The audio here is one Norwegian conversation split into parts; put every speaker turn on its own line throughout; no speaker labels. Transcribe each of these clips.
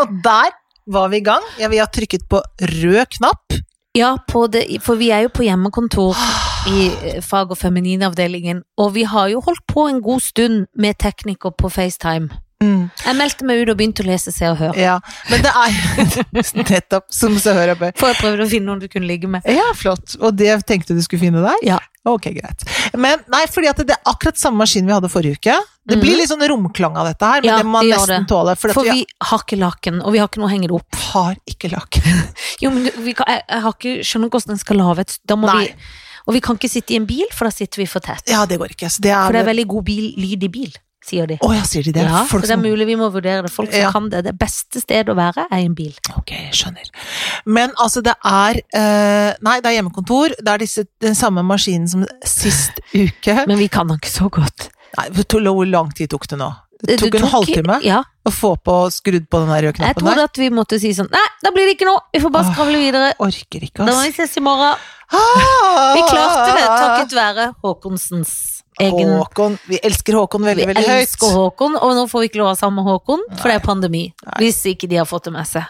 Og der var vi i gang. Jeg vil ha trykket på rød knapp.
Ja, på det, for vi er jo på hjemmekontor i eh, fag- og femininavdelingen, og vi har jo holdt på en god stund med teknikker på FaceTime. Jeg meldte meg ut og begynte å lese Se og Hør,
Ja, men det er nettopp som så hører jeg på.
for jeg prøvde å finne noen du kunne ligge med.
Ja, flott. Og det tenkte du skulle finne der?
Ja.
Ok, greit. Men nei, fordi at det er akkurat samme maskin vi hadde forrige uke. Det
Mhm.
blir litt sånn romklang av dette her, men
Ja,
det må man
det gjør
nesten
det.
tåle. For,
For
at vi,
vi har ikke laken, og vi har ikke noe å henge det opp.
har ikke laken.
Jo, men du- vi kan, jeg, jeg har ikke skjønner ikke hvordan jeg skal lage et da må
Nei.
vi, Og vi kan ikke sitte i en bil, for da sitter vi for tett.
Ja, det går ikke. Så det er,
For det er
vel-
veldig god bil, lyd i bil, sier de.
Å ja, sier de det?
Ja, så
Folk
det er
som
mulig vi må vurdere det. Folk som
Ja.
kan det. Det beste stedet å være er i en bil.
Ok, jeg skjønner. Men altså, det er eh, Nei, det er hjemmekontor. Det er disse, den samme maskinen som sist uke.
Men vi kan den ikke så godt.
Nei, vet du Hvor lang tid tok det nå? Det
Du
tok en halvtime
Ja.
å få på skrudd på den der
Jeg
røde knappen
trodde
der.
at vi måtte si sånn Nei, da blir det ikke noe! Vi får bare
Åh.
skravle videre.
Orker
Da
ikke,
må
ass.
vi ses i morgen.
Ah!
Vi klarte det takket være Håkonsens egen
Håkon. Vi elsker Håkon
Vi
veldig, veldig høyt.
elsker Håkon, og nå får vi ikke lov å ha sammen med Håkon, for det er pandemi. Hvis ikke de har fått det med seg.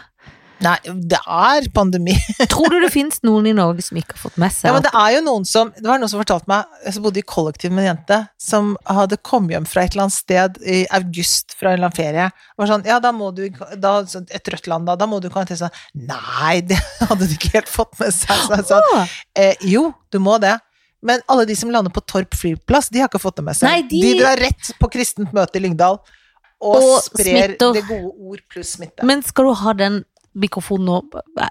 Nei, det er pandemi.
Tror du det finnes noen i Norge som ikke har fått med seg
Ja, men det er jo noen som Det var noen som fortalte meg, jeg som bodde i kollektiv med en jente, som hadde kommet hjem fra et eller annet sted i august fra en eller annen ferie. Og var sånn, ja, da må du, i- da, sånn, et rødt land, da, da må du i karantene. Sånn, Nei, det hadde de ikke helt fått med seg. Så jeg sa,
Åh.
eh, jo, du må det. Men alle de som lander på Torp flyplass, de har ikke fått det med seg.
Nei, de-
drar rett på kristent møte i Lyngdal og,
Og
sprer
smitter.
det gode ord pluss smitte.
Men skal du ha den mikrofonen nå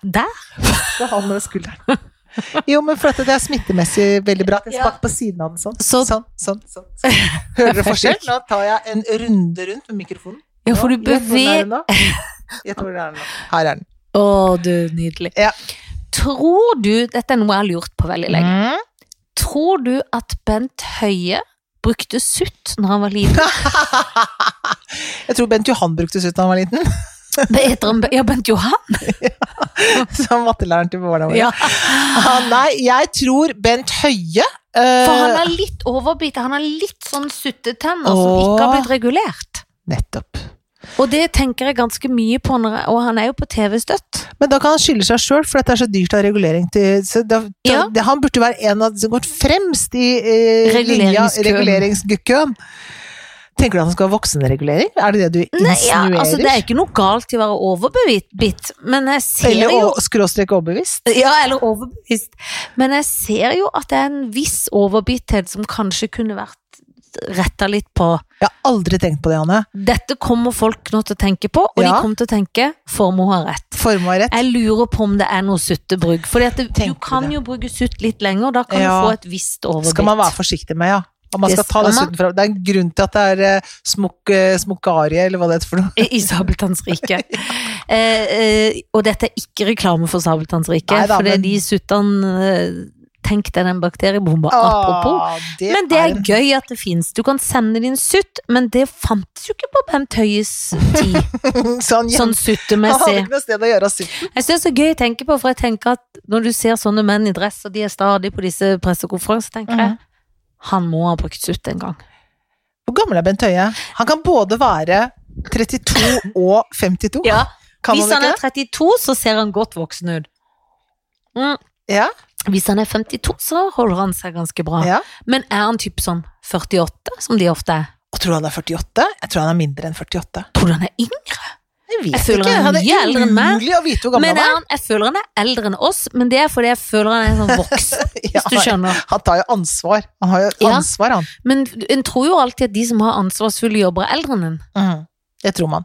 der?
Det er han med skulderen. Jo, men for at det er smittemessig veldig bra. at Jeg
Ja.
sprakk på siden av den sånn.
Så-
Sånn, sånn, sånn. sånn. Hører dere forskjell? Nå tar jeg en runde rundt med mikrofonen.
Ja,
Nå,
for du
gjett hvor den er
beveger Å,
nå. Gjett hvor den er nå. Her er den.
du, nydelig.
Ja.
Tror du Dette er noe jeg har lurt på veldig lenge.
Mm.
Tror du at Bent Høie brukte sutt når han var liten?
Jeg tror Bent Johan brukte sutt da han var liten.
Det heter han Be- Ja, Bent Johan?
Som mattelæreren til barna våre.
Ja.
Ah, nei, jeg tror Bent Høie eh,
For han har litt overbitt. Han har litt sånn suttetenner som
Åh.
ikke har blitt regulert.
Nettopp.
Og det tenker jeg ganske mye på, når jeg, og han er jo på TV støtt.
Men da kan han skylde seg sjøl, for at det er så dyrt å ha regulering til så da, da,
Ja.
det, Han burde være en av de som går fremst i eh, linja
Reguleringskøen.
reguleringskøen. Tenker du at han skal ha voksenregulering? Er det det du
Nei,
insinuerer?
ja, altså Det er ikke noe galt i å være overbevitt, men jeg ser
Eller
jo
å- skråstrek overbevist?
Ja, eller overbevist. Men jeg ser jo at det er en viss overbitthet som kanskje kunne vært retta litt på.
Jeg har aldri tenkt på det, Hanne.
Dette kommer folk nå til å tenke på, og
Ja.
de kommer til å tenke formue har rett.
Forma rett.
Jeg lurer på om det er noe suttebruk. For du
Tenker
kan
det.
jo bruke sutt litt lenger, og da kan
Ja.
du få et visst overbitt.
Skal man være forsiktig med, ja. Og man
Det
skal ta
skal
det
man.
sutten fra Det er en grunn til at det er eh, smok, eh, smokarie, eller hva det heter for noe.
I Sabeltanns rike. eh, eh, og dette er ikke reklame for Sabeltanns rike,
Neida,
for det
men-
er de suttene eh, Tenk deg den bakteriebomba, apropos.
Ah, det
Men det er
en-
gøy at det fins. Du kan sende din sutt, men det fantes jo ikke på Bent Høies tid.
sånn,
sånn
Han hadde
suttemessig.
ikke noe sted å gjøre av sutten.
Jeg syns det er gøy å tenke på, for jeg tenker at når du ser sånne menn i dress, og de er stadig på disse pressekonferansene, tenker jeg
Mhm.
han må ha brukt sutt en gang.
Hvor gammel er Bent Høie? Han kan både være 32 og 52.
Ja,
kan
Hvis
han
han er
ikke det?
32, så ser han godt voksen ut. Mm.
Ja,
Hvis han er 52, så holder han seg ganske bra.
ja.
Men er han typ sånn 48, som de ofte er?
Og tror du han er 48? Jeg tror han er mindre enn 48.
Tror du han er yngre?
Jeg vet
Jeg føler
ikke.
han er
det
mye eldre enn meg.
umulig å vite hvor gammel
Men er
han er.
han, jeg føler han er eldre enn oss, men det er fordi jeg føler han er sånn voksen, hvis du
Ja,
skjønner.
han tar jo ansvar. Han har jo
Ja.
ansvar, han.
Men en tror jo alltid at de som har ansvarsfulle jobber, er eldre enn en.
Mm. Det tror man.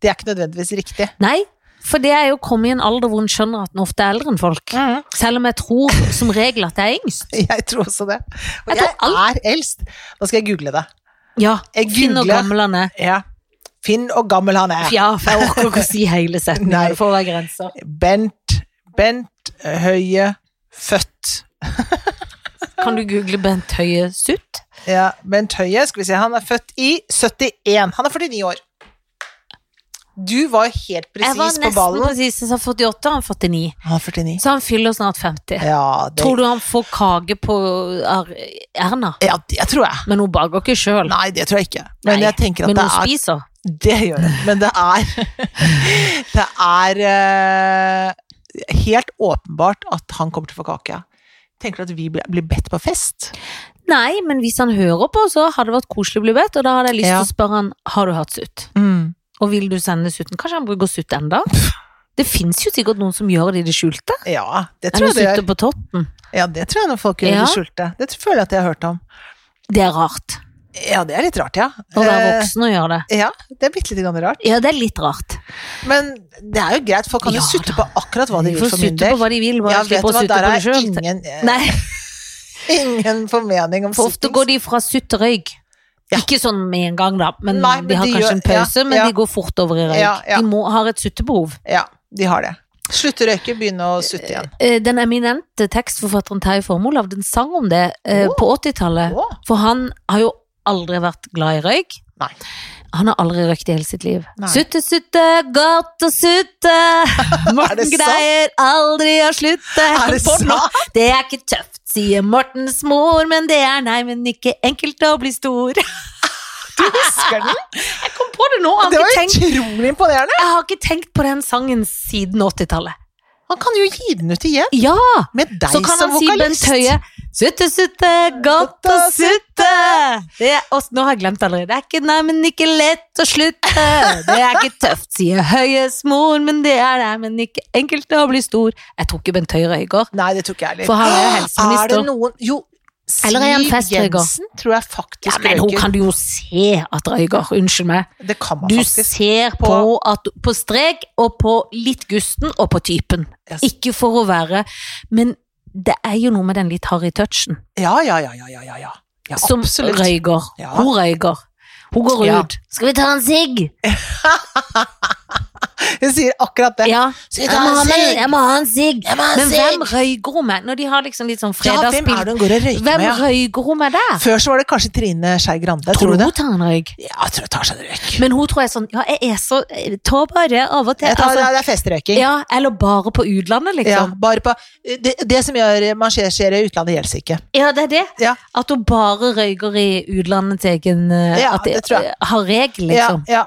Det er ikke nødvendigvis riktig.
Nei, for det er jo å komme i en alder hvor en skjønner at en ofte er eldre enn
Mm.
folk. Selv om jeg tror som regel at jeg er yngst.
Jeg tror også det. Og
Jeg
jeg,
tror alt-
er eldst. Nå skal jeg google det.
Ja,
Jeg
Finn og
googler.
gammel han er.
Ja. Finn og gammel han er.
Ja, for jeg orker ikke å si hele
Nei.
setningen, det får være grenser.
Bent, Bent Høie, født
Kan du google Bent Høie sutt?
Ja, Bent Høie, skal vi se, han er født i 71. Han er 49 år. Du var helt
Jeg var
presis på
nesten
ballen.
presis, jeg sa 48, han er 49.
Han er 49.
Så han fyller snart 50.
Ja, det,
Tror du han får kake på Ar- Erna?
ja, det tror jeg.
Men hun baker ikke sjøl.
Nei, det tror jeg ikke. Men
Nei,
jeg tenker at
Men
det
hun
er
spiser.
Det gjør det. Men det er Det er eh, helt åpenbart at han kommer til å få kake. Tenker du at vi blir- blir bedt på fest?
Nei, men hvis han hører på, så har det vært koselig å bli bedt, og da hadde jeg lyst til
Ja.
å spørre han har du hatt sutt. Og vil du sende sutten? Kanskje han bruker sutt enda? Det finnes jo sikkert noen som gjør det i det skjulte.
Ja, det
Eller
tror jeg det
sutter
gjør.
på totten.
Ja, det tror jeg når folk gjør
Ja.
det skjulte. Det tror- føler jeg at jeg har hørt om.
Det er rart.
Ja, det er litt rart, ja.
Å være
Eh,
voksen og gjøre det.
ja, det er bitte lite grann rart.
Ja, det er litt rart.
Men det er jo greit, folk kan jo
Ja
sutte
da.
på akkurat hva de
Du
vil
får
for min
sutte
del.
på hva de vil, bare
Ja,
ja,
vet
slipp
du
å
hva,
sutte
der
på det
er
sjøl.
ingen, eh,
Nei,
ingen formening om
for ofte
sutting.
går de fra sutt til røyk.
Ja.
Ikke sånn med en gang, da, men
Nei, men
de har
de
kanskje
gjør-
en pause,
ja,
men
ja.
de går fort over i røyk.
Ja, ja.
De må, har et suttebehov.
Ja, de har det. Slutte å røyke, begynne å sutte igjen.
Eh, Den eminente tekstforfatteren Terje Formolav, den sang om det eh,
Åh.
på 80-tallet.
Å,
For han har jo aldri vært glad i røyk.
Nei.
Han har aldri røykt i hele sitt liv.
Nei.
Sutte, sutte, godt å sutte. Morten
sant?
greier aldri å slutte.
er det
På nå-
sant?
Det er ikke tøft, sier Mortens mor, men det er nei, men ikke enkelt å bli stor.
Husker den?
Jeg kom på det nå, jeg
Det
har,
var
ikke tenkt,
utrolig imponerende.
jeg har ikke tenkt på den sangen siden 80-tallet.
Han kan jo gi den ut igjen,
Ja,
med deg
så kan
som
han si Bent
vokalist.
Høie. Sutte, sutte, godt
Godt
å
å
sutte. Det er, og, nå har jeg glemt allerede. Det er ikke nei, men ikke lett å slutte. Det er ikke tøft, sier Høies mor, men det er nei, men ikke enkelt å bli stor. Jeg tror ikke Bent Høie røyker.
Nei, det tror ikke jeg heller.
For han er jo helseminister.
Er det noen Jo,
Eller er han
Siv
festrøyker?
Jensen tror jeg faktisk
Ja, men hun
røyker.
kan du jo se at røyker. Unnskyld meg.
Det kan man
Du
faktisk.
ser på,
På-
at, på strek og på litt gusten og på typen.
Yes.
Ikke for å være Men det er jo noe med den litt harry touchen
Ja, ja, ja, ja, ja, ja, ja. Ja,
som
absolutt.
røyger.
Ja.
Hun røyger. Hun går
Ja.
ut. Skal vi ta en sigg?
Hun sier akkurat det.
Ja.
Skal vi
Jeg
ta
må, ha
en
meg,
sigg?
jeg må ha en sigg.
Jeg må ha en
Men
sigg.
hvem røyger hun med? Når de har liksom litt sånn
Ja, hvem er
fredagsspill.
det hun går og røyker
Hvem
med? ja?
røyger hun med der?
Før så var det kanskje Trine Skei Grande, tror,
Tror
du
du
det?
hun tar en røyk?
Ja, jeg tror hun tar seg en røyk.
Men hun tror jeg er sånn Ja, jeg er så Ta bare av og til.
Jeg tar,
altså.
det er festrøyking.
ja, eller bare på utlandet,
Ja,
liksom.
bare på, det, det som gjør man skjer, skjer i utlandet, gjelder ikke.
Ja, det er det.
Ja.
At hun bare røyker i utlandet til egen eh,
Ja,
At de
det tror jeg.
eh, har regel, liksom.
Ja, ja.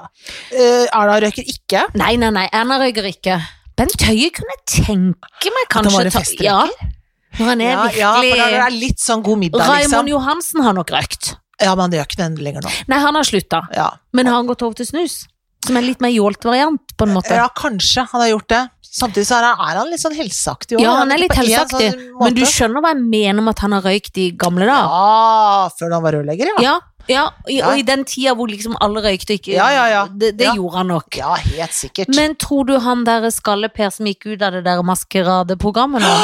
Eh, Erna røyker ikke.
Nei, nei, nei. Erna røyker ikke. Bent Høie kunne jeg tenke meg
han var
kanskje
en
ta
festrøyker?
Ja. Når han er
Ja, ja, for
virkelig
da er det litt sånn god middag,
Raymond
liksom.
Johansen har nok røykt.
Ja, men han gjør ikke den lenger nå.
Nei, han har slutta.
Ja,
Men har han gått over til snus? Som er en litt mer jålt variant, på en måte.
ja kanskje han har gjort det. Samtidig så er han, er han litt sånn helseaktig. også.
Ja, han er litt
på en
helseaktig,
sånn måte.
men du skjønner hva jeg mener med at han har røykt i gamle dager?
Ja, før han var rørlegger, ja.
Ja. ja, i-
Ja.
og i den tida hvor liksom alle røykte og ikke
Ja, ja, ja.
Det, det
Ja.
gjorde han nok.
Ja, helt sikkert.
Men tror du han der skalle-Per som gikk ut av det der maskeradeprogrammet nå,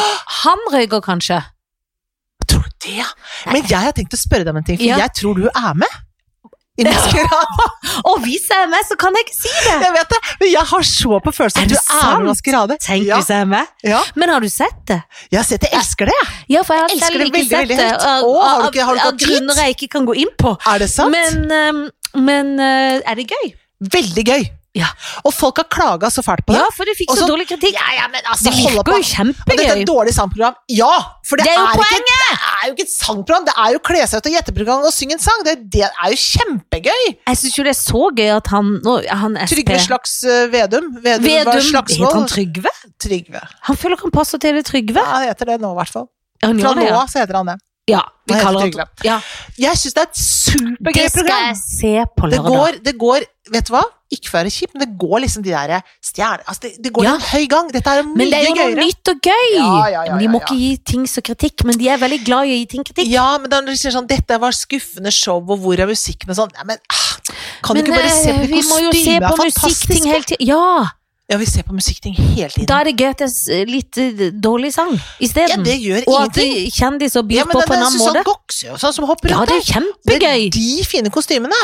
han røyker kanskje?
tror du det? ja? Men jeg har tenkt å spørre deg om en ting, for
Ja.
jeg tror du er med. I Maskerade.
Og hvis jeg er med, så kan jeg ikke si det!
Jeg vet det, men jeg har så på følelsen
Er
at du
det
er med i
sant?
Maskerade.
Tenk
ja,
hvis jeg er med.
ja.
Men har du sett det?
Jeg har sett det, jeg elsker det. jeg.
Ja, for jeg har
Jeg elsker
selv
det
ikke
veldig,
sett
veldig
det.
høyt.
Av,
Å, har du
av,
ikke- har du ikke
av
hatt tid?
grunner jeg ikke kan gå inn på.
Er det sant?
Men, ehm, men eh, er det gøy?
Veldig gøy.
Ja.
Og folk har klaga så fælt på det.
Ja, for det fikk så
Også-
dårlig kritikk.
Ja, ja, men altså,
Det
hold opp,
virker jo
da. Og dette er
kjempegøy.
et dårlig sangprogram. Ja! For det,
Det er jo
ikke, det er jo ikke et sangprogram, det er jo kle seg ut og gjetteprogram og synge en sang. Det, det er jo kjempegøy!
Jeg syns jo det er så gøy at han, nå, han SP
Trygve slags eh, Vedum. Vedum, var
Vedum
slagsmål.
Heter han Trygve?
Trygve.
Han føler han passer til det Trygve.
Ja, han heter det nå, i hvert fall.
Ja, han
Fra
gjør det,
nå
ja.
av så heter han det.
ja, vi
Han heter
kaller
Trygve.
han ja.
Jeg syns det er et supergøy
Det skal
program.
jeg se på
Det
lørdag.
går, det går, vet du hva? Ikke for å være kjip, men det går liksom de der stjerne... Altså, det, det går
Ja.
en høy gang. Dette er jo mye
Men det er jo noe
gøyere.
nytt og gøy!
Ja, ja, ja,
men de må
ja,
ikke gi ting så kritikk, men de er veldig glad i å gi ting kritikk.
Ja, men da sier sånn, dette var skuffende show, og hvor er musikken og sånn. Ja, men ah, kan
men
du ikke bare se
eh,
på
vi må jo se
kostymet?
på
er
musikkting
fantastisk.
hele tiden. Ja!
Ja, vi ser på musikkting hele tiden.
Da er det gøy at det er s- litt eh, dårlig sang
ja,
isteden.
det gjør
og at
ingenting.
eh, kjendiser byr
Ja, men
på
den
på en
der
annen
Susanne
måte.
Goksøy og sånn som hopper
Ja,
rundt
det er
der.
jo kjempegøy!
de fine kostymene.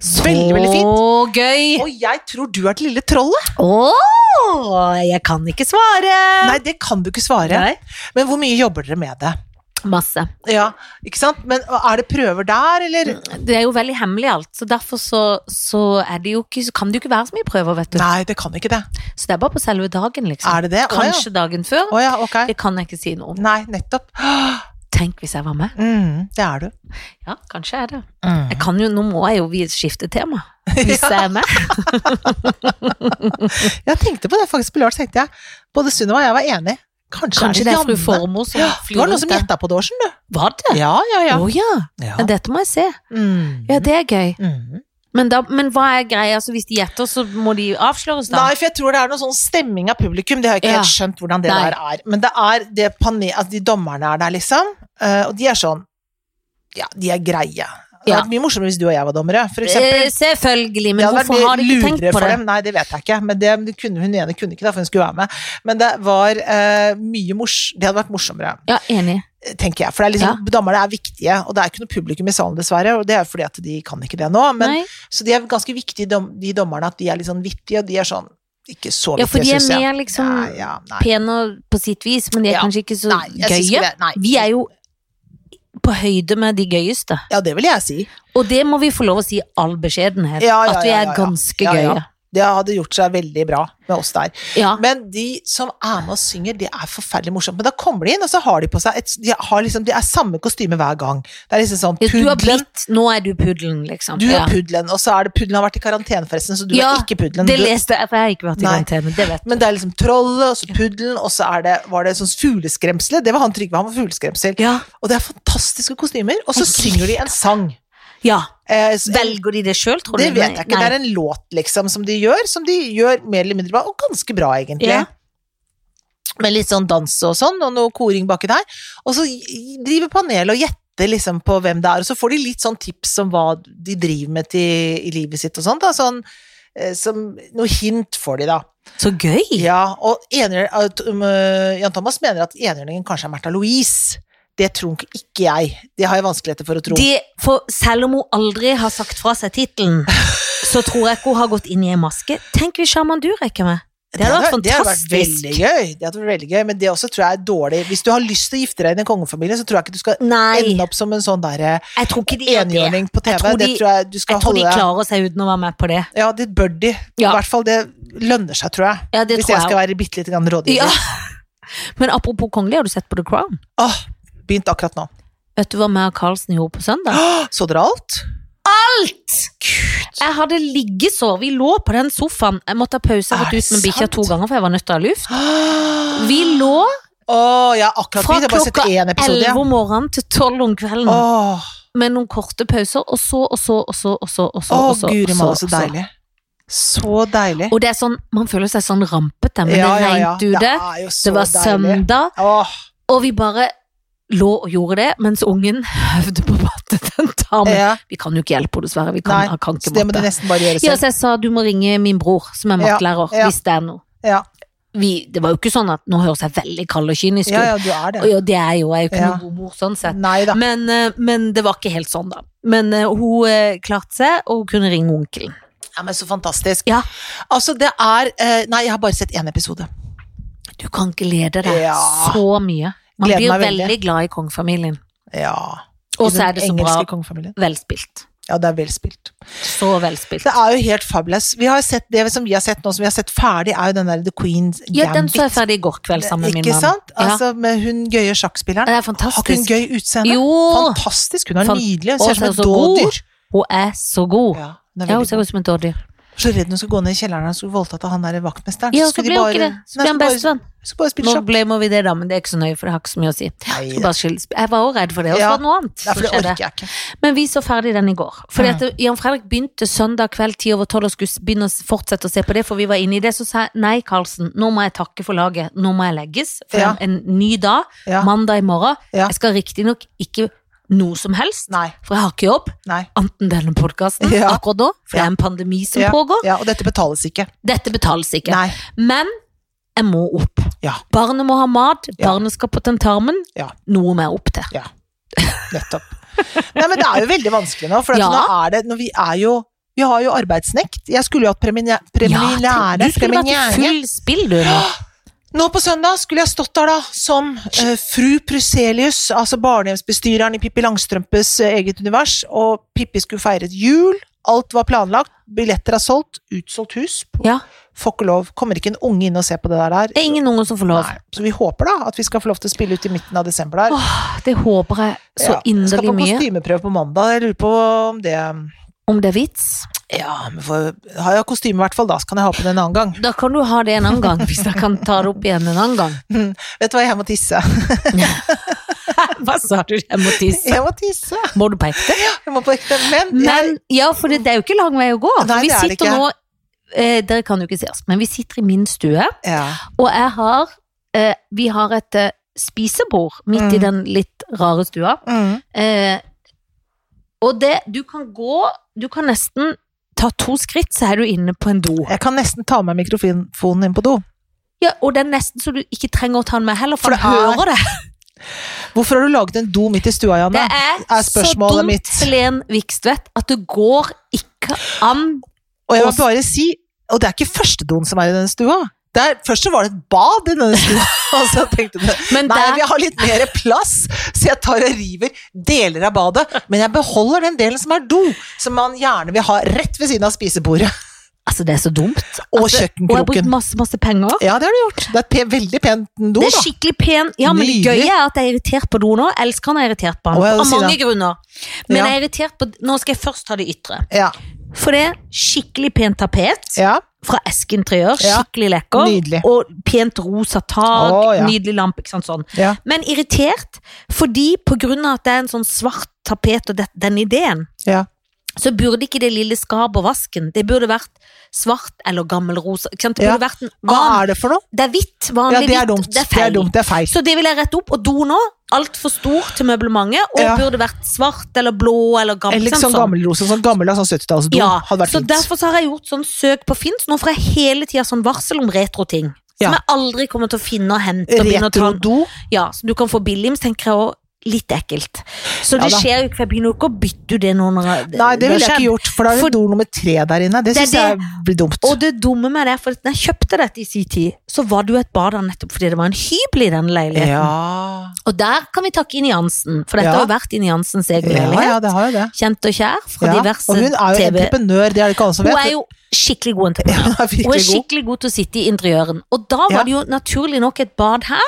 Så
Veldig, veldig
gøy!
Og jeg tror du er det lille trollet.
Åh, jeg kan ikke svare!
Nei, det kan du ikke svare.
Nei.
Men hvor mye jobber dere med det?
Masse.
Ja, ikke sant? Men og er det prøver der, eller?
Det er jo veldig hemmelig alt, så derfor så, så er det jo ikke, så kan det jo ikke være så mye prøver, vet du.
Nei, det kan ikke det.
Så det er bare på selve dagen, liksom.
Er det det? Å ja.
Kanskje dagen før.
Å ja, ok.
Det kan jeg ikke si noe om.
Nei, nettopp.
Tenk hvis jeg var med.
Mm, det er du.
Ja, kanskje jeg er det. Jeg kan jo, nå må jeg jo vi- skifte tema. Hvis jeg er
Ja.
med.
Jeg tenkte på det faktisk på lørdag, tenkte jeg. Både Sunniva og jeg var enig. Kanskje,
Kanskje det er fru
Janne?
Formoe som
Ja, det
flyr
var noen
ut
som
der.
gjetta på det òg, skjønner du.
Var det?
Ja, ja,
Å ja.
ja.
ja. Dette må jeg se.
Mm.
Ja, det er gøy.
Mm.
Men, da, men hva er greia? Altså, hvis de gjetter, så må de avsløres, da?
Nei, for jeg tror det er noe sånn stemming av publikum. Det har jeg ikke
Ja.
helt skjønt hvordan det
Nei.
der er. Men det er det pane- altså, de dommerne er der, liksom. eh, og de er sånn Ja, de er greie. Det hadde
Ja.
vært mye morsommere hvis du og jeg var dommere, for eksempel.
Eh, selvfølgelig, men
Det hadde
hvorfor har
vært
de
mye
ikke tenkt
lurere
på
for
det?
dem. Nei, det vet jeg ikke, men det, det kunne, hun ene kunne ikke, da, for hun skulle være med. Men det var eh, mye mors... Det hadde vært morsommere.
Ja, enig.
tenker jeg. For det er liksom, dommerne er viktige, og det er ikke noe publikum i salen, dessverre. Og det er fordi at de kan ikke det nå. Men,
Nei.
så de er ganske viktige, dom, de dommerne, at de er litt sånn vittige, og de er sånn ikke så
Ja, for de
vittige,
er
syns jeg.
mer liksom
Nei, ja, nei.
pene på sitt vis, men de er
Ja.
kanskje ikke så
Nei, jeg syns ikke
gøye.
det. Nei.
Vi er jo på høyde med de gøyeste.
Ja, det vil jeg si.
Og det må vi få lov å si i all beskjedenhet.
Ja, ja,
at vi
ja,
er
ja, ja.
ganske
Ja, ja.
gøye.
Det hadde gjort seg veldig bra med oss der.
Ja.
Men de som er med og synger, det er forferdelig morsomt. Men da kommer de inn, og så har de på seg et, de har liksom, det er samme kostyme hver gang. Det er liksom sånn
Ja, Du har
puddelen,
blitt Nå er du puddelen, liksom.
du
ja.
er puddelen, og så er det puddelen har vært i karantene forresten, så du
Ja,
er ikke puddelen.
Det
Du-
leste jeg, for jeg har ikke vært i
Nei.
karantene. Det vet du.
Men det er liksom trollet, og så puddelen, og så er det, var det sånn fugleskremsel. Det var han Trygve, han var fugleskremsel.
Ja.
Og det er fantastiske kostymer. Og så
Jeg
synger de en sang.
ja.
Eh, så-
Velger de det sjøl, tror du?
det vet jeg ikke. Det er en låt, liksom, som de gjør, som de gjør mer eller mindre bra, og ganske bra, egentlig.
Ja.
Med litt sånn dans og sånn, og noe koring baki der. Og så i- driver panelet og gjetter liksom på hvem det er, og så får de litt sånn tips om hva de driver med til, i livet sitt og sånt, da. Sånn, eh, som, noe hint får de, da.
Så gøy!
Ja, og enhjør- at, um, øh, Jan Thomas mener at enhjørningen kanskje er Märtha Louise. Det tror ikke jeg. Det har jeg vanskeligheter for å tro.
Det, for selv om hun aldri har sagt fra seg tittelen, så tror jeg ikke hun har gått inn i en maske. Tenk hvis Sjaman Durek er med! Det hadde vært
det hadde vært
fantastisk.
veldig gøy. Det hadde vært veldig gøy, men det også tror jeg er dårlig. Hvis du har lyst til å gifte deg i en kongefamilie, så tror jeg ikke du skal
Nei,
ende opp som en sånn derre
jeg tror ikke de gjør det.
enhjørning på TV.
Jeg tror de-
det tror jeg du skal
Jeg tror de
holde deg
klarer seg uten å være med på det.
Ja, det bør de. I
Ja.
hvert fall det lønner seg, tror jeg.
Ja, det
Hvis
tror
jeg
jeg
skal være bitte lite grann rådgiver.
Ja. Men apropos kongelig, har du sett på The Crown?
Åh, begynt akkurat nå.
Vet du hva meg og Carlsen gjorde på søndag?
Så dere alt?
Jeg hadde liggesår. Vi lå på den sofaen. Jeg måtte ha pause. Jeg har
Er
gått ut
det
med bikkja
sant?
to ganger, for jeg var nødt til å ha luft.
Åh,
Vi lå
jeg har akkurat
fra
begynt. Jeg har bare sett
klokka
én
11
episode. ja.
om morgenen til 12 om kvelden
Åh,
med noen korte pauser, og så, og så, og så, og så, og så,
åh,
og så,
guri
og
malla, så
og
deilig. Så deilig.
Og det er sånn, man føler seg sånn rampete, men det regnet ute.
Det
Det,
er jo så
var
deilig.
søndag,
Åh,
og vi bare lå og gjorde det, mens ungen høvde på vannet den tarmen.
ja.
Vi kan jo ikke hjelpe henne, dessverre. Vi kan,
Nei,
han kan
Så
ikke
det må du
matte.
nesten bare gjøre
Ja,
selv.
så jeg sa du må ringe min bror, som er
Ja,
mattelærer,
ja.
hvis det er noe.
Ja,
Vi, det var jo ikke sånn at nå høres jeg veldig kald og kynisk ut.
ja, ja du er
Og
det.
jo, det er jo, jeg er jo ikke
Ja.
noen god mor sånn sett.
Nei da.
Men, eh, men det var ikke helt sånn, da. Men eh, hun eh, klarte seg, og hun kunne ringe onkelen.
Ja, men så fantastisk.
Ja.
Altså, det er eh, Nei, jeg har bare sett én episode.
Du kan glede deg
Ja.
så mye. Man
Gleder
blir jo
meg veldig.
veldig. glad i kongefamilien.
Ja.
Og
I
så
den
er det så bra.
engelske kongefamilien.
Velspilt.
Ja, det er velspilt.
Så velspilt.
Det er jo helt fabulous. Vi har sett, det som vi har sett nå, som vi har sett ferdig, er jo den der The Queen's
Ja, den så jeg
Gambit.
ferdig i går kveld sammen med min
Ikke
mann.
sant?
Ja.
Altså, med hun gøye sjakkspilleren.
det er
Har ikke hun
fantastisk.
gøy utseende?
Jo!
Fantastisk. Hun er
Fan-
nydelig.
Sånn Å,
Hun ser ut som
så
et
god.
dådyr.
Hun er så god.
Ja, hun er
Ja,
veldig
hun ser ut som et dårdyr.
Så redd hun skulle gå ned i kjelleren og skulle voldtatt av han der vaktmesteren.
Ja, så
skulle de
blir hun
bare-
ikke det. Så
Nei,
blir han
skulle
bestevenn.
bare, skulle bare spille
Nå
sjakk.
ble må vi det, da, men det er ikke så nøye, for det har ikke så mye å si.
Nei,
Så bare skilles. Jeg var også redd for det, og så
Ja.
var det noe annet.
Nei,
som
for det
skjedde.
orker jeg ikke.
Men vi så ferdig den i går. Fordi at Jan Fredrik begynte søndag kveld 10 over 12 og skulle s- begynne å s- fortsette å se på det, for vi var inne i det. Så sa jeg nei, Karlsen, nå må jeg takke for laget. Nå må jeg legges. For
Ja.
en ny dag,
Ja.
mandag i morgen.
Ja.
Jeg skal riktignok ikke noe som helst,
Nei,
for jeg har ikke jobb.
nei.
Anten denne podkasten
Ja.
akkurat nå, for det er en pandemi som
Ja,
pågår.
ja, og dette betales ikke.
Dette betales ikke.
Nei.
Men jeg må opp.
Ja.
Barnet må ha mat,
Ja.
barnet skal på tentamen.
Ja.
Noe må jeg opp til.
Ja. Nettopp. Nei, men det er jo veldig vanskelig nå, for at
Ja.
nå er det når Vi er jo Vi har jo arbeidsnekt. Jeg skulle jo hatt premie-
Ja,
premiere
du skulle vært i
premiere.
full spill, du. nå.
Nå på søndag skulle jeg stått der da som eh, fru Pruselius, altså barnehjemsbestyreren i Pippi Langstrømpes eh, eget univers, og Pippi skulle feiret jul. Alt var planlagt, billetter er solgt, utsolgt hus på
Ja.
Får ikke lov. Kommer ikke en unge inn og ser på det der der?
Det er ingen unger som får lov.
Nei. Så vi håper da at vi skal få lov til å spille ut i midten av desember der.
Åh, det håper jeg så
Ja, Skal
inderlig
på
mye.
kostymeprøve på mandag. Jeg lurer på om det
Om det er vits?
Ja, men for, har jeg kostyme i hvert fall, da, så kan jeg ha på det en annen gang.
Da kan du ha det en annen gang, hvis jeg kan ta det opp igjen en annen gang.
Vet du hva, jeg må tisse.
Hva sa du? Jeg må tisse.
Jeg må tisse!
Må du på ekte?
Jeg må på ekte. Men, jeg,
Men ja, for det, det er jo ikke lang vei å gå.
Nei,
vi
det er det
sitter
ikke.
nå eh, Dere kan jo ikke se oss, men vi sitter i min stue,
ja.
og jeg har eh, Vi har et eh, spisebord midt i
Mm.
den litt rare stua.
Mm.
Eh, og det Du kan gå Du kan nesten ta to skritt, så er du inne på en do.
Jeg kan nesten ta med mikrofonen inn på do.
Ja, og det er nesten så du ikke trenger å ta den med heller, for
For
du
det er-
hører det.
Hvorfor har du laget en do midt i stua, Janne?
Det er,
er
så
spørsmålet
dumt,
mitt.
Helen Vikstvedt, at det går ikke an
Og jeg må
Og-
bare si, og det er ikke første doen som er i denne stua. Det er, først så var det et bad i denne stua, og så tenkte du
Men
Nei,
der-
vi har litt mer plass, så jeg tar og river deler av badet. Men jeg beholder den delen som er do, som man gjerne vil ha rett ved siden av spisebordet.
Altså, det er så dumt. At det-
Og
Og jeg har brukt
kjøkkenkroken.
masse, masse penger.
Ja, det har du gjort. Det er et pe veldig pent do,
det er
da.
skikkelig pen. Ja, men det
Nydelig.
gøye er at jeg er irritert på do nå. Jeg elsker han, jeg er irritert på han.
Å, ja, du
Av
sier
mange grunner. Men
Ja.
jeg er irritert på Nå skal jeg først ta det ytre.
Ja,
For det er skikkelig pent tapet
ja.
fra Esk Interiør.
Ja.
Skikkelig lekker.
Nydelig.
Og pent rosa tak.
Å, ja.
Nydelig lampe. Ikke sant, sånn.
ja.
Men irritert fordi på grunn av at det er en sånn svart tapet og det, den ideen,
Ja.
så burde ikke det lille skapet og vasken, det burde vært svart eller gammelrosa. ikke sant? Det
Ja.
burde vært en
Hva
annen
er det for noe?
Det er hvitt,
Ja,
vanlig
det er
hvitt.
dumt.
Det er feil.
dumt. Det er feil.
Så det vil jeg rette opp. Og do nå, altfor stor til møblementet, og
Ja.
burde vært svart eller blå eller gammel.
Eller
sant,
sånn gammelrose, sånn gammel av sånn 70-tallsdo.
Ja,
Hadde vært
så
fint.
derfor så har jeg gjort sånn søk på Finn, så nå får jeg hele tida sånn varsel om retroting. Som
Ja.
jeg aldri kommer til å finne og hente. Og begynne å ta,
Retrodo.
ja, så du kan få billig, men så tenker jeg også litt ekkelt. Så det
Ja da.
skjer jo ikke, for jeg begynner jo ikke å bytte ut det nå når jeg-
Nei, det
har
ville jeg ikke
skjedd.
gjort, for da er det
For-
do nummer tre der inne. Det
Det er
syns jeg blir dumt.
Og det dumme med det, for at når jeg kjøpte dette i sin tid, så var det jo et bad der nettopp fordi det var en hybel i den leiligheten.
ja.
Og der kan vi takke Ine Jansen, for dette
Ja.
har jo vært Ine Jansens egen
ja,
leilighet.
ja, det har jo det.
Kjent og kjær fra
Ja.
diverse
Og hun er jo
TV.
entreprenør, det er det ikke alle som
Hun
vet.
er jo skikkelig god entreprenør.
Hun er
Hun er
virkelig god.
skikkelig god til å sitte i interiøren. Og da var
Ja.
det jo naturlig nok et bad her,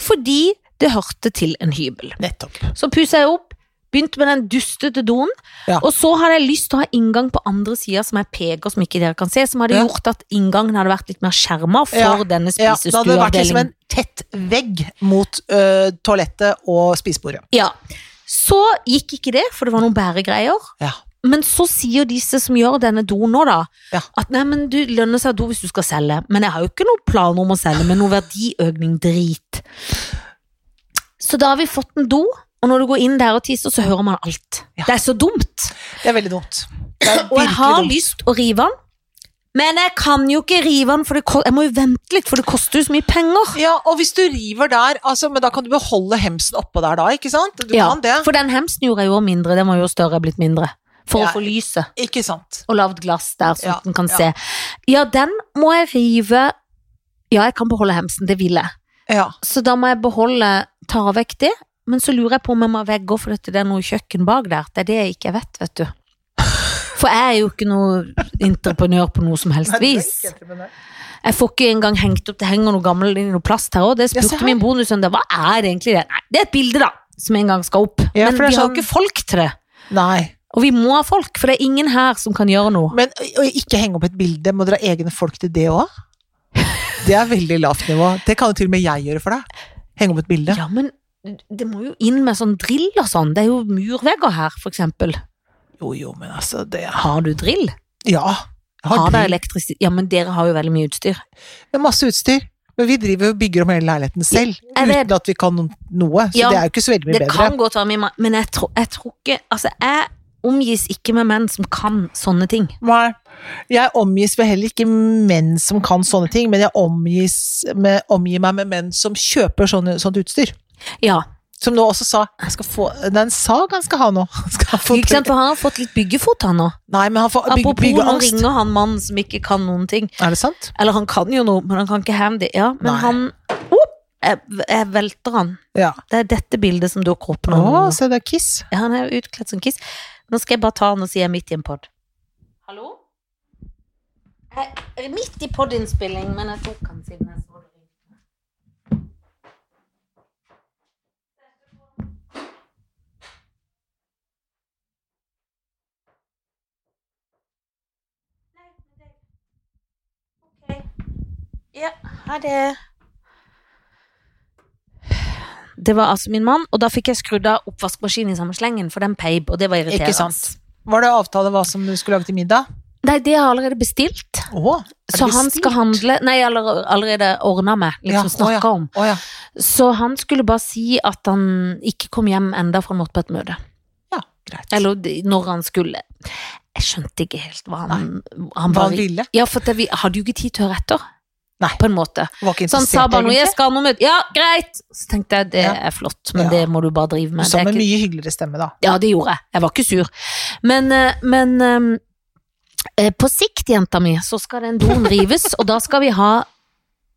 fordi det hørte til en hybel.
Nettopp.
Så pussa jeg opp, begynte med den dustete doen,
Ja.
og så hadde jeg lyst til å ha inngang på andre sida som er peker, som ikke dere kan se, som hadde
Ja.
gjort at inngangen hadde vært litt mer skjerma for
Ja.
denne
Ja, da hadde det vært liksom
spisestueavdelingen.
en tett vegg mot øh, toalettet og spisebordet.
Ja. Så gikk ikke det, for det var noen bæregreier.
Ja.
Men så sier disse som gjør denne doen nå, da,
Ja.
at nei, men du lønner seg do hvis du skal selge. Men jeg har jo ikke noen planer om å selge med noe verdiøkning drit. Så da har vi fått en do, og når du går inn der og tisser, så hører man alt.
Ja.
Det er så dumt.
Det er veldig dumt. Det er
Og jeg
virkelig
har
dumt.
lyst å rive den, men jeg kan jo ikke rive den, for det, ko- jeg må jo vente litt, for det koster jo så mye penger.
Ja, og hvis du river der, altså, men da kan du beholde hemsen oppå der da, ikke sant? Du
Ja,
kan det.
For den hemsen gjorde jeg jo mindre, den var jo større, blitt mindre. For
Ja.
å få lyset.
Ikke sant.
og lavt glass der, så
Ja,
den kan
ja.
se. Ja, den må jeg rive Ja, jeg kan beholde hemsen, det vil jeg.
Ja.
Så da må jeg beholde ta vekk det. Men så lurer jeg på om jeg må ha vegger, for dette, det er noe kjøkken bak der. Det er det jeg ikke vet, vet du. For jeg er jo ikke noe entreprenør på noe som helst vis. Jeg får ikke engang hengt opp, det henger noe gammelt i noe plast her òg. Det
Ja, se
spurte
her.
min bonussøndag, hva er det egentlig det? Nei, det er et bilde, da, som en gang skal opp.
Ja,
Men
for det er
vi har jo
sånn-
ikke folk til det.
Nei.
Og vi må ha folk, for det er ingen her som kan gjøre noe.
Men ø- å ikke henge opp et bilde, må dere ha egne folk til det òg? Det er veldig lavt nivå. Det kan jo til og med jeg gjøre for deg. Henge opp et bilde.
Ja, men det må jo inn med sånn drill og sånn. Det er jo murvegger her, for eksempel.
Jo, jo, men altså, det Ja.
Har du drill?
Jeg
Har,
har
dere
driv-
elektrisitet? Ja, men dere har jo veldig mye utstyr.
det er masse utstyr. Men vi driver og bygger om hele leiligheten selv,
jeg vet.
uten at vi kan noe. Så
Ja,
det er jo ikke så veldig mye
Det
bedre.
kan godt være mye, ma- men jeg tror, jeg tror ikke Altså, jeg omgis ikke med menn som kan sånne ting.
Nei. Jeg omgis vel heller ikke menn som kan sånne ting, men jeg omgis med, omgir meg med menn som kjøper sånne, sånt utstyr.
Ja,
Som nå også sa jeg skal få, Det er en sag han skal ha nå. Skal han få
ikke sant? For han har fått litt byggefot, han nå.
Nei, men han får bygge,
Apropos, nå
byggeangst.
ringer han mannen som ikke kan noen ting.
Er det sant?
Eller han kan jo noe, men han kan ikke handy. Ja, men
Nei.
han oh, jeg, jeg velter han.
Ja. Mm.
Det er dette bildet som dukker opp
Å,
nå.
se det er Kiss.
Ja, han er jo utkledd som kiss. Nå skal jeg bare ta han og si jeg er midt i en pod. Hallo? Jeg er midt i podinnspilling, men jeg tok han siden jeg så det. Ok. Ja, ha det. Det var altså min mann, og da fikk jeg skrudd av oppvaskmaskinen i samme slengen, for den peip, og det var irriterende.
Ikke sant. Var det avtale hva som du skulle lage til middag?
Nei, det har jeg allerede bestilt.
Å, er det
Så han skal
bestilt?
handle Nei, jeg har allerede ordna med, liksom
Ja, å ja.
snakka om.
Å ja.
Så han skulle bare si at han ikke kom hjem enda for han måtte på et møte.
ja. Greit.
Eller d- når han skulle. Jeg skjønte ikke helt hva han, han
Hva
bare
han ville?
Ja, for det, vi hadde jo ikke tid til å høre etter.
Nei.
På en måte.
Var ikke
Så han sa
interessert,
bare noe, jeg
egentlig.
skal ha noe møte. Ja, greit! Så tenkte jeg, det
Ja.
er flott, men
Ja.
det må du bare drive
Du
med.
sa
Det er
med
ikke-
mye hyggeligere stemme, da.
ja, det gjorde jeg. Jeg var ikke sur. Men, eh, men eh, eh, på sikt, jenta mi, så skal den doen rives, og da skal vi ha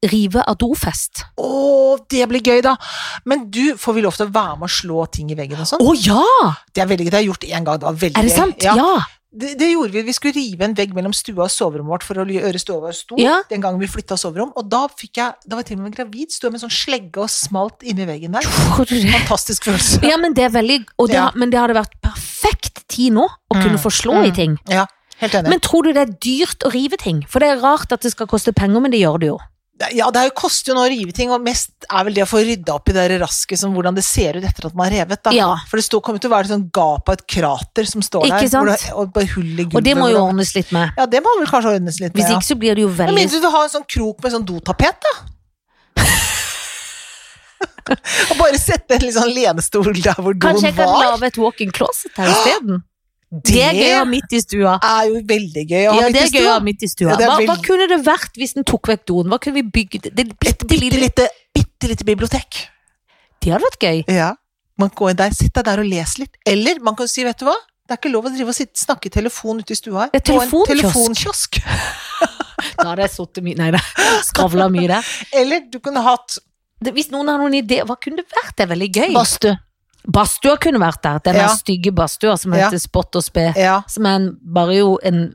rive av dofest.
Å, det blir gøy, da! Men du, får vi lov til å være med og slå ting i veggen og sånn?
Å ja!
Det er veldig gøy. Det har jeg gjort én gang. Det var veldig
Er det
gøy.
sant?
Ja.
Ja.
Det, det gjorde vi. Vi skulle rive en vegg mellom stua og soverommet vårt for å gjøre stua stor.
Ja.
Den gangen vi flytta soverom. Og da fikk jeg Da var jeg til og med gravid. Sto jeg med en sånn slegge og smalt inni veggen der.
Tror du det?
Fantastisk følelse.
Ja, men det er veldig og det,
Ja.
har- Men det hadde vært perfekt tid nå å kunne få slå i
Mm.
ting.
Ja, helt enig.
Men tror du det er dyrt å rive ting? For det er rart at det skal koste penger, men det gjør det jo.
ja, det er jo koster jo nå å rive ting, og mest er vel det å få rydda opp i det der rasket som hvordan det ser ut etter at man har revet. Da.
Ja.
For det står, kommer til å være et sånn gap av et krater som står
Ikke
der, hvor
sant?
det, og bare hull i gulvet.
Og det må jo
hvor
ordnes litt med.
Ja, det må vel kanskje ordnes litt
Hvis
med. ja.
ikke så blir det jo
Men
veldig
mindre du vil ha en sånn krok med sånn dotapet, da. og bare sette en litt sånn lenestol der hvor doen
Kanskje jeg kan
var.
lage et walk-in closet her isteden? Det er gøy å ha midt i stua.
er jo veldig gøy å ha
Ja,
midt
det
i
er gøy å
stua.
ha midt i stua.
Ja, det er
Hva, hva
veldig-
kunne det vært hvis den tok vekk doen? Hva kunne vi bygd? Det,
Et
bitte,
bitte
lille,
lite, bitte lite bibliotek.
det hadde vært gøy.
Ja. Man går inn der, sitt deg der og les litt. Eller man kan si, vet du hva, det er ikke lov å drive og sitte, snakke i telefon ute i stua her.
Det er
Få en
telefonkiosk.
telefonkiosk.
Da hadde jeg sittet mye Nei da, skravla mye der.
Eller du kunne hatt
Det, hvis noen har noen ideer, hva kunne det vært? Det er veldig gøy.
badstue.
Badstua kunne vært der. Den
Ja.
der stygge badstua som
Ja.
heter Spott og spe.
Ja.
Som er en, bare jo en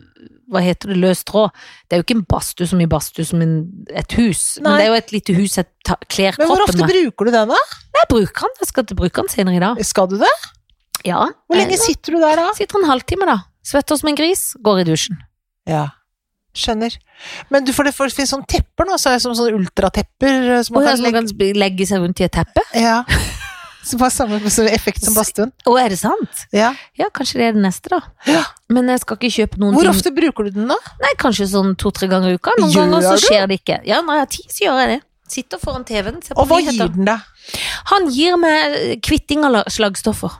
hva heter det, løs tråd. Det er jo ikke en badstue som i badstue som en, et hus, men
Nei.
det er jo et lite hus jeg ta- kler
Men hvor
kroppen
ofte
med.
bruker du den, da?
Jeg bruker den, jeg skal til bruke den senere i dag.
Skal du det?
Ja.
Hvor lenge
Jeg
sitter du der, da?
Sitter en halvtime, da. Svetter som en gris, går i dusjen.
Ja. Skjønner. Men du, for det, for det finnes sånne tepper nå, så er det som sånne ultratepper eh, som
Og
man
ja,
kan
så man
legge
kan sp- legge seg rundt i et teppe.
Ja. Som har samme så effekt som badstuen.
Å, er det sant?
Ja.
Ja, kanskje det er det neste, da.
Ja.
Men jeg skal ikke kjøpe noen
Hvor
ting.
ofte bruker du den, da?
Nei, kanskje sånn to-tre ganger i uka. Noen
Gjør
ganger så
du?
skjer det ikke. Ja, når jeg har tid, så gjør jeg det. Sitter foran TV-en, ser på
Og hva gir
nyheter.
den deg?
Han gir meg eh, kvitting av la- slagstoffer.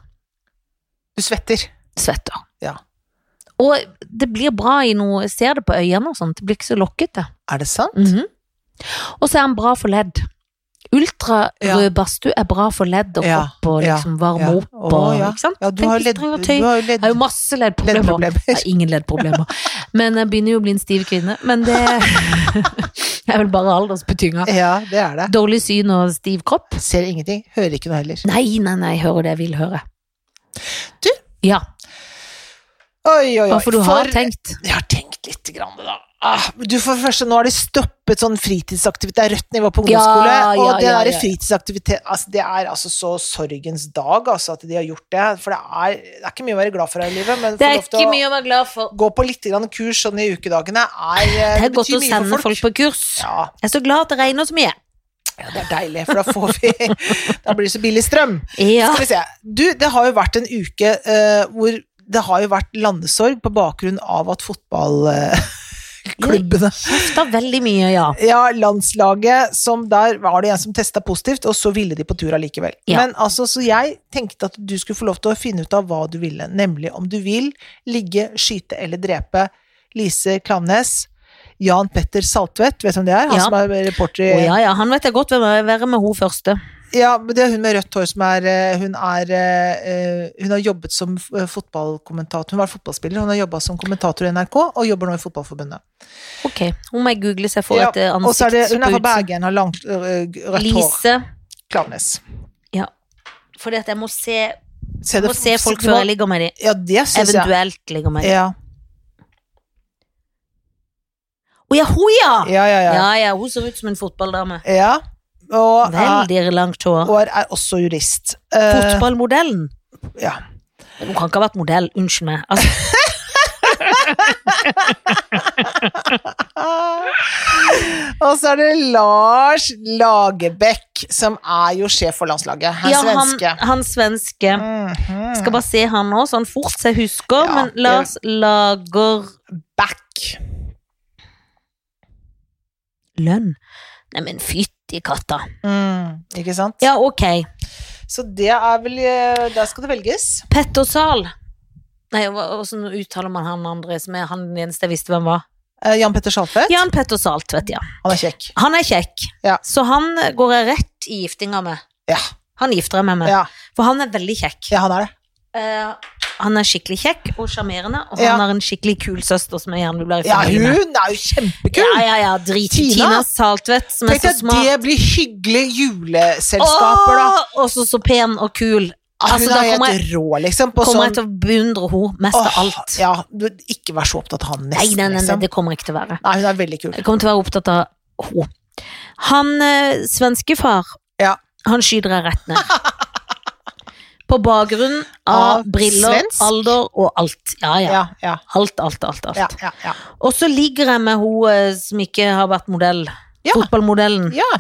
Du svetter.
Svetter.
Ja.
Og det blir bra i noe, jeg ser det på øynene og sånt. Det blir ikke så lokkete.
Er det sant?
Mhm. Og så er han bra for ledd. Ultrarød
Ja.
badstue er bra for ledd og
Ja,
kropp og
ja,
liksom varme
ja.
opp og
Å, ja.
ikke sant?
Ja, du
Tenk
har
hvis jeg
ledd...
trenger å
Du
tøye.
har jo
Jeg har
ledd...
jo masse leddproblemer. Jeg
leddproblemer.
har ingen leddproblemer. Men jeg begynner jo å bli en stiv kvinne. Men det er vel bare aldersbetynga.
Ja, det er det.
Dårlig syn og stiv kropp?
Ser ingenting, hører ikke noe heller.
Nei, nei, nei, jeg hører det jeg vil høre.
Du?
Ja,
Oi, oi, oi.
bare for du har tenkt.
Jeg har tenkt litt, grann, da. Ah, du, for det første, nå har de stoppet sånn fritidsaktivitet. Det er rødt nivå på ungdomsskole.
Ja, ja,
og det
ja,
der
ja.
fritidsaktivitet altså, Det er altså så sorgens dag, altså, at de har gjort det. For det er, det er ikke mye å være glad for her i livet, men
Det
få
er
lov til
ikke
å
mye å være glad for.
gå på litt grann kurs sånn i ukedagene er eh,
Det er
det
godt
betyr
å
mye
sende
for
folk på kurs.
Ja,
Jeg er så glad at det regner så mye.
ja, det er deilig, for da får vi Da blir det så billig strøm.
Ja.
Skal vi se. Du, det har jo vært en uke eh, hvor det har jo vært landesorg på bakgrunn av at fotballklubbene
Det er veldig mye, ja.
Ja, landslaget, som der var det en som testa positivt, og så ville de på tur allikevel.
Ja.
Men altså, så jeg tenkte at du skulle få lov til å finne ut av hva du ville, nemlig om du vil ligge, skyte eller drepe Lise Klamnes, Jan Petter Saltvedt, vet du hvem det er? Han
Ja.
som er reporter i
Å ja, ja, han vet jeg godt hvem jeg vil være med hun første.
Ja, men det er hun med rødt hår som er eh, Hun er eh, eh, Hun har jobbet som eh, fotballkommentator. Hun var fotballspiller, hun har jobba som kommentator i NRK, og jobber nå i Fotballforbundet.
Ok, hun må jeg google så jeg får
Ja,
et eh,
Og så er det,
ansikt.
hun
på
er fra
utsiden.
Bergen, har langt, øh, rødt hår.
Lise.
Klamnes.
Ja. Fordi at jeg må se,
Se
jeg må se folk før jeg ligger med dem.
Ja, det syns jeg.
Eventuelt ligger med dem.
Ja.
Å ja, hun ja!
Ja, ja, ja.
Ja, ja, hun ser ut som en fotballdame.
ja. Og, er,
Veldig langt hår.
og er- er også jurist. Eh,
Fotballmodellen.
ja.
Hun kan ikke ha vært modell, unnskyld meg. Altså,
Ah. Og så er det Lars Lagerbäck, som er jo sjef for landslaget. Han
ja, han,
svenske.
han svenske.
Mhm.
Skal bare se han nå, så han fort så jeg husker.
Ja,
men
det-
Lars lager
Back.
lønn. Nei, men fytti katta.
Mm, ikke sant?
Ja, ok.
Så det er vel eh, Der skal det velges.
Petter Zahl. Nei, hva- hvordan uttaler man han andre som er han den eneste jeg visste hvem var?
Eh, Jan Petter Saltvedt.
Jan Petter Zahl, vet jeg.
Han er kjekk.
Han er kjekk,
Ja.
så han går jeg rett i giftinga med.
Ja.
Han gifter jeg meg med,
Ja,
for han er veldig kjekk.
ja han er det.
Eh, han er skikkelig kjekk og sjarmerende, og
Ja.
han har en skikkelig kul søster som jeg gjerne vil være i
Ja,
familie med.
hun er jo kjempekul!
Ja, ja, ja, drit i
Tina.
Tina Saltvedt, som
Tenk
er så
deg at
smart.
det blir hyggelige juleselskaper, da.
Åh, Og så så pen og kul.
Hun
Altså, da
er
kommer jeg,
helt rå, liksom. På
kommer
sånn
jeg til å beundre henne mest
Åh,
av alt.
Ja, du, ikke vær så opptatt av han,
Nei, nei,
nesten.
nei, nei,
liksom.
det kommer jeg ikke til å være.
Nei, hun er veldig kul.
Jeg kommer til å være opptatt av henne. Han eh, svenske far,
Ja.
han skyter jeg rett ned. På bakgrunn
Av
av briller,
svensk?
alder og alt. Ja, ja.
Ja, ja,
Alt, alt, alt. alt.
ja. ja, ja.
Og så ligger jeg med hun eh, som ikke har vært modell.
Ja.
Fotballmodellen.
ja,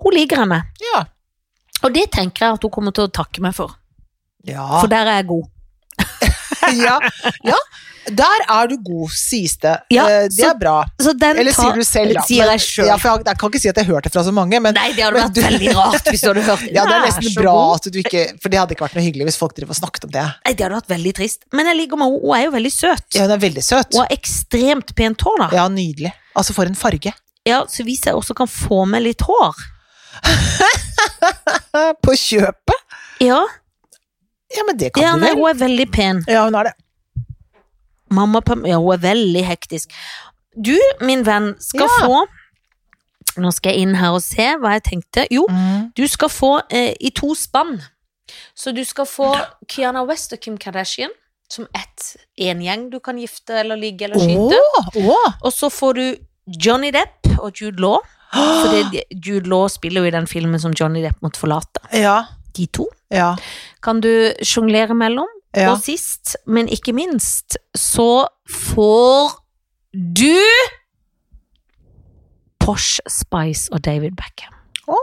Hun ligger jeg med.
ja.
Og det tenker jeg at hun kommer til å takke meg for.
Ja.
For der er jeg god.
ja, ja. Der er du god, sies det.
Ja,
Eh, det
så-
er bra.
Så den
Eller sier du selv, da.
Sier
Men-
jeg selv.
Ja, for jeg, jeg kan ikke si at jeg har hørt det fra så mange, men
Nei, det hadde
Men
vært
du-
veldig rart hvis du hadde hørt
ja, det er
Nei,
nesten
så
bra
god.
at du ikke For det hadde ikke vært noe hyggelig hvis folk driver og snakket om det.
Nei, det hadde vært veldig trist. Men jeg ligger med henne, hun er jo veldig søt.
Ja, hun er veldig søt.
Og har ekstremt pent hår, da. Ja.
Ja, nydelig. Altså, for en farge.
Så hvis jeg også kan få med litt hår
Eh, På kjøpet!
Ja,
Ja, men det kan
ja
du
nei,
vel?
hun er veldig pen.
Ja, hun er det.
Mamma Pam Ja, hun er veldig hektisk. Du, min venn, skal
Ja.
få Nå skal jeg inn her og se hva jeg tenkte. Jo, du skal få eh, i to spann. Så du skal få Kiana West og Kim Kardashian som ett. En gjeng du kan gifte eller ligge eller skyte.
Å,
Og så får du Johnny Depp og Jude Law. For
å.
det, Jude Law spiller jo i den filmen som Johnny Depp måtte forlate.
Ja,
De to
ja,
kan du sjonglere mellom.
ja.
Og sist, men ikke minst, så får du Posh, Spice og David Beckham.
Å.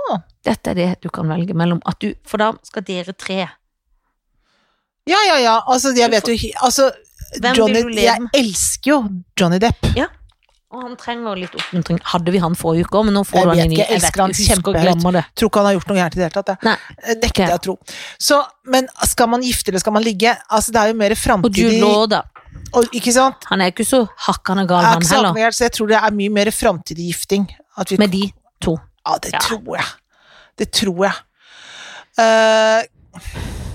Dette er det du kan velge mellom. At du, for da skal dere tre
Ja, ja, ja. Altså, jeg vet jo ikke- Altså,
Hvem
Johnny
vil du leve
Jeg
med?
elsker jo Johnny Depp.
Og han trenger litt oppmuntring. Hadde vi han forrige uke òg, men nå
Jeg
får du
vet
han inn i
ikke, jeg elsker han
husker og
kjempehøyt.
glemmer det.
Tror ikke han har gjort noe gærent i det hele tatt. jeg.
Nei.
Eh, Nekter
Ok.
jeg å tro. Så, men skal man gifte eller skal man ligge? Altså, det er jo
Og
mer
Jude
framtidig
Law, da.
og- Ikke sant?
Han er ikke så hakkende gal,
Jeg har
han
ikke sagt
heller.
noe gærent, så jeg tror det er mye mer framtidig gifting. At vi,
Med de to.
ja, det
Ja.
tror jeg. Det tror jeg. Eh,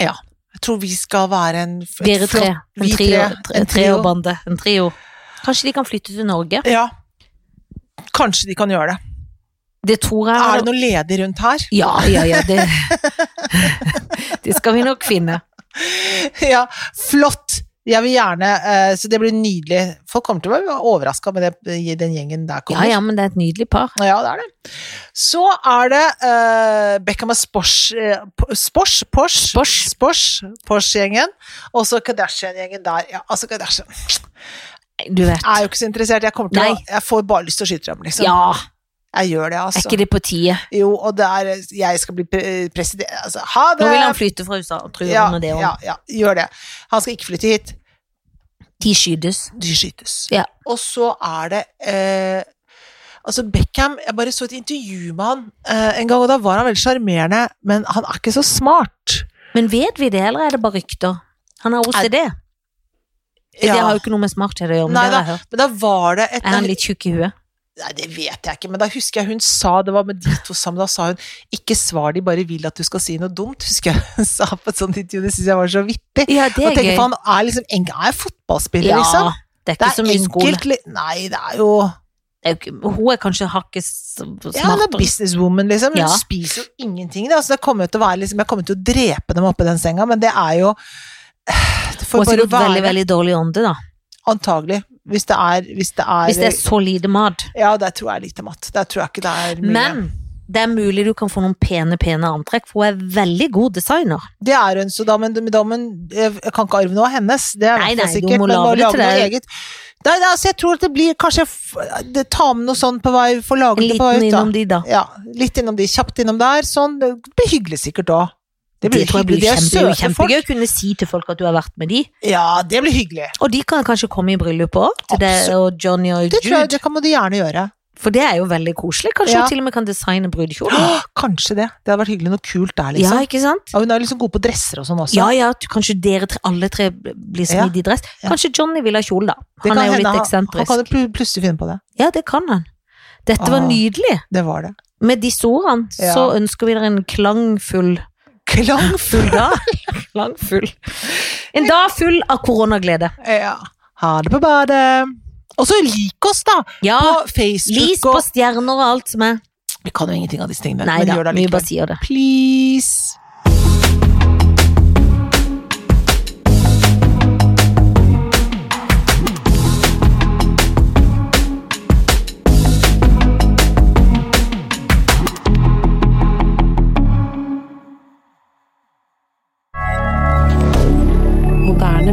ja. Jeg tror vi skal være en et
Dere tre.
flott-
En
vi
trio.
tre,
En
en trio.
triobande. En trio. Kanskje de kan flytte til Norge?
Ja. Kanskje de kan gjøre det.
Det tror jeg.
Er det noe ledig rundt her?
Ja, ja, ja. Det, det skal vi nok finne.
ja, flott! Jeg vil gjerne eh, Så det blir nydelig. Folk kommer til å være overraska med det, den gjengen der
Ja,
kommer.
ja, men det er et nydelig par.
Ja, det er det. Så er det eh, Beckham og Spors, eh, P- Spors, Pors,
Spors.
Spors, Pors-gjengen. Og så Kardashian-gjengen der. Ja, altså Kardashian
Du vet.
Jeg er jo ikke så interessert. Jeg, kommer til å,
Nei.
jeg får bare lyst til å skyte dem, liksom.
Ja,
Jeg gjør det,
er
altså.
ikke det på tide?
Jo, og det er Jeg skal bli pre- president Altså, ha det!
Nå vil han flytte fra USA, og tror
ja,
han er det
ja,
òg.
ja, gjør det. Han skal ikke flytte hit.
De skytes.
De skytes.
Ja.
Og så er det eh, Altså Beckham, jeg bare så et intervju med han eh, en gang, og da var han veldig sjarmerende, men han er ikke så smart.
Men vet vi det, eller er det bare rykter? Han har OCD. Det
Ja.
har jo ikke noe med smarthet å gjøre, men
Nei
det har jeg hørt.
Men da var det et
Er han litt tjukk i huet?
Nei, det vet jeg ikke, men da husker jeg hun sa det var med de to sammen, da sa hun 'ikke svar de bare vil at du skal si noe dumt', husker jeg hun sa på et sånt intervju, det syns jeg var så vittig.
Ja, det
Og
er
tenker,
gøy.
for han er liksom en, han er fotballspiller,
Ja,
liksom.
det er
Det
ikke så
er
mye skole.
enkelt li- Nei, det er jo
Det er jo ikke- Hun er kanskje hakket s-
Ja, hun er
smartere.
businesswoman, liksom. Hun
Ja.
spiser jo ingenting. Da. Så det kommer jo til å være, liksom, jeg kommer til å drepe dem oppe i den senga, men det er jo Det
Hun har
får bare
sikkert
være
veldig, veldig dårlig ånde, da.
Antagelig. Hvis det er, hvis det er,
Hvis det er så lite mat.
Ja, der tror jeg er lite matt. Der tror jeg ikke det er mye.
Men det er mulig du kan få noen pene, pene antrekk, for hun er veldig god designer.
Det er hun, så da, men, men da, men jeg kan ikke arve noe av hennes. Det er i
Nei,
hvert fall
nei, du
sikkert.
må
men
lage
bare
det til
noe
deg.
eget. Nei, nei, altså jeg tror at det blir kanskje jeg f- det, Ta med noe sånn på vei, få
En
laget det på
liten
vei ut, da.
innom de, da.
Ja, litt innom de, kjapt innom der. Sånn. Det blir hyggelig sikkert òg.
Det, tror jeg blir
De er
kjempe,
søte folk.
kjempegøy å kunne si til folk at du har vært med de.
Ja, det blir hyggelig.
Og de kan kanskje komme i bryllupet òg, til deg og Johnny og
Det tror jeg,
Jude.
det kan må du gjerne gjøre.
For det er jo veldig koselig. Kanskje
Ja.
hun til og med kan designe brudekjolen.
Åh, Kanskje det. Det hadde vært hyggelig. Noe kult der,
Ja,
liksom.
ikke sant?
Ja, hun er liksom god på dresser og sånn også.
Ja, ja, at kanskje dere tre, alle tre blir smidd i dress.
Ja.
Kanskje Johnny vil ha kjole, da.
Det
Han
kan
er jo
hende
litt
han, han
eksentrisk.
kan jo pl- plutselig finne på det.
Ja, det kan han. Dette var
Ah.
nydelig.
Det var det.
Med disse ordene
Ja.
så ønsker vi dere en klangfull
Klangfull.
Full dag. Klangfull. En dag full av koronaglede.
Ja. Ha det på badet. Og så lik oss, da!
Ja,
På Facebook
lys på
og
stjerner og alt som er.
Vi kan jo ingenting av disse tingene,
Nei
men
da,
gjør det
vi bare sier
allikevel.
det.
Please!
Moderne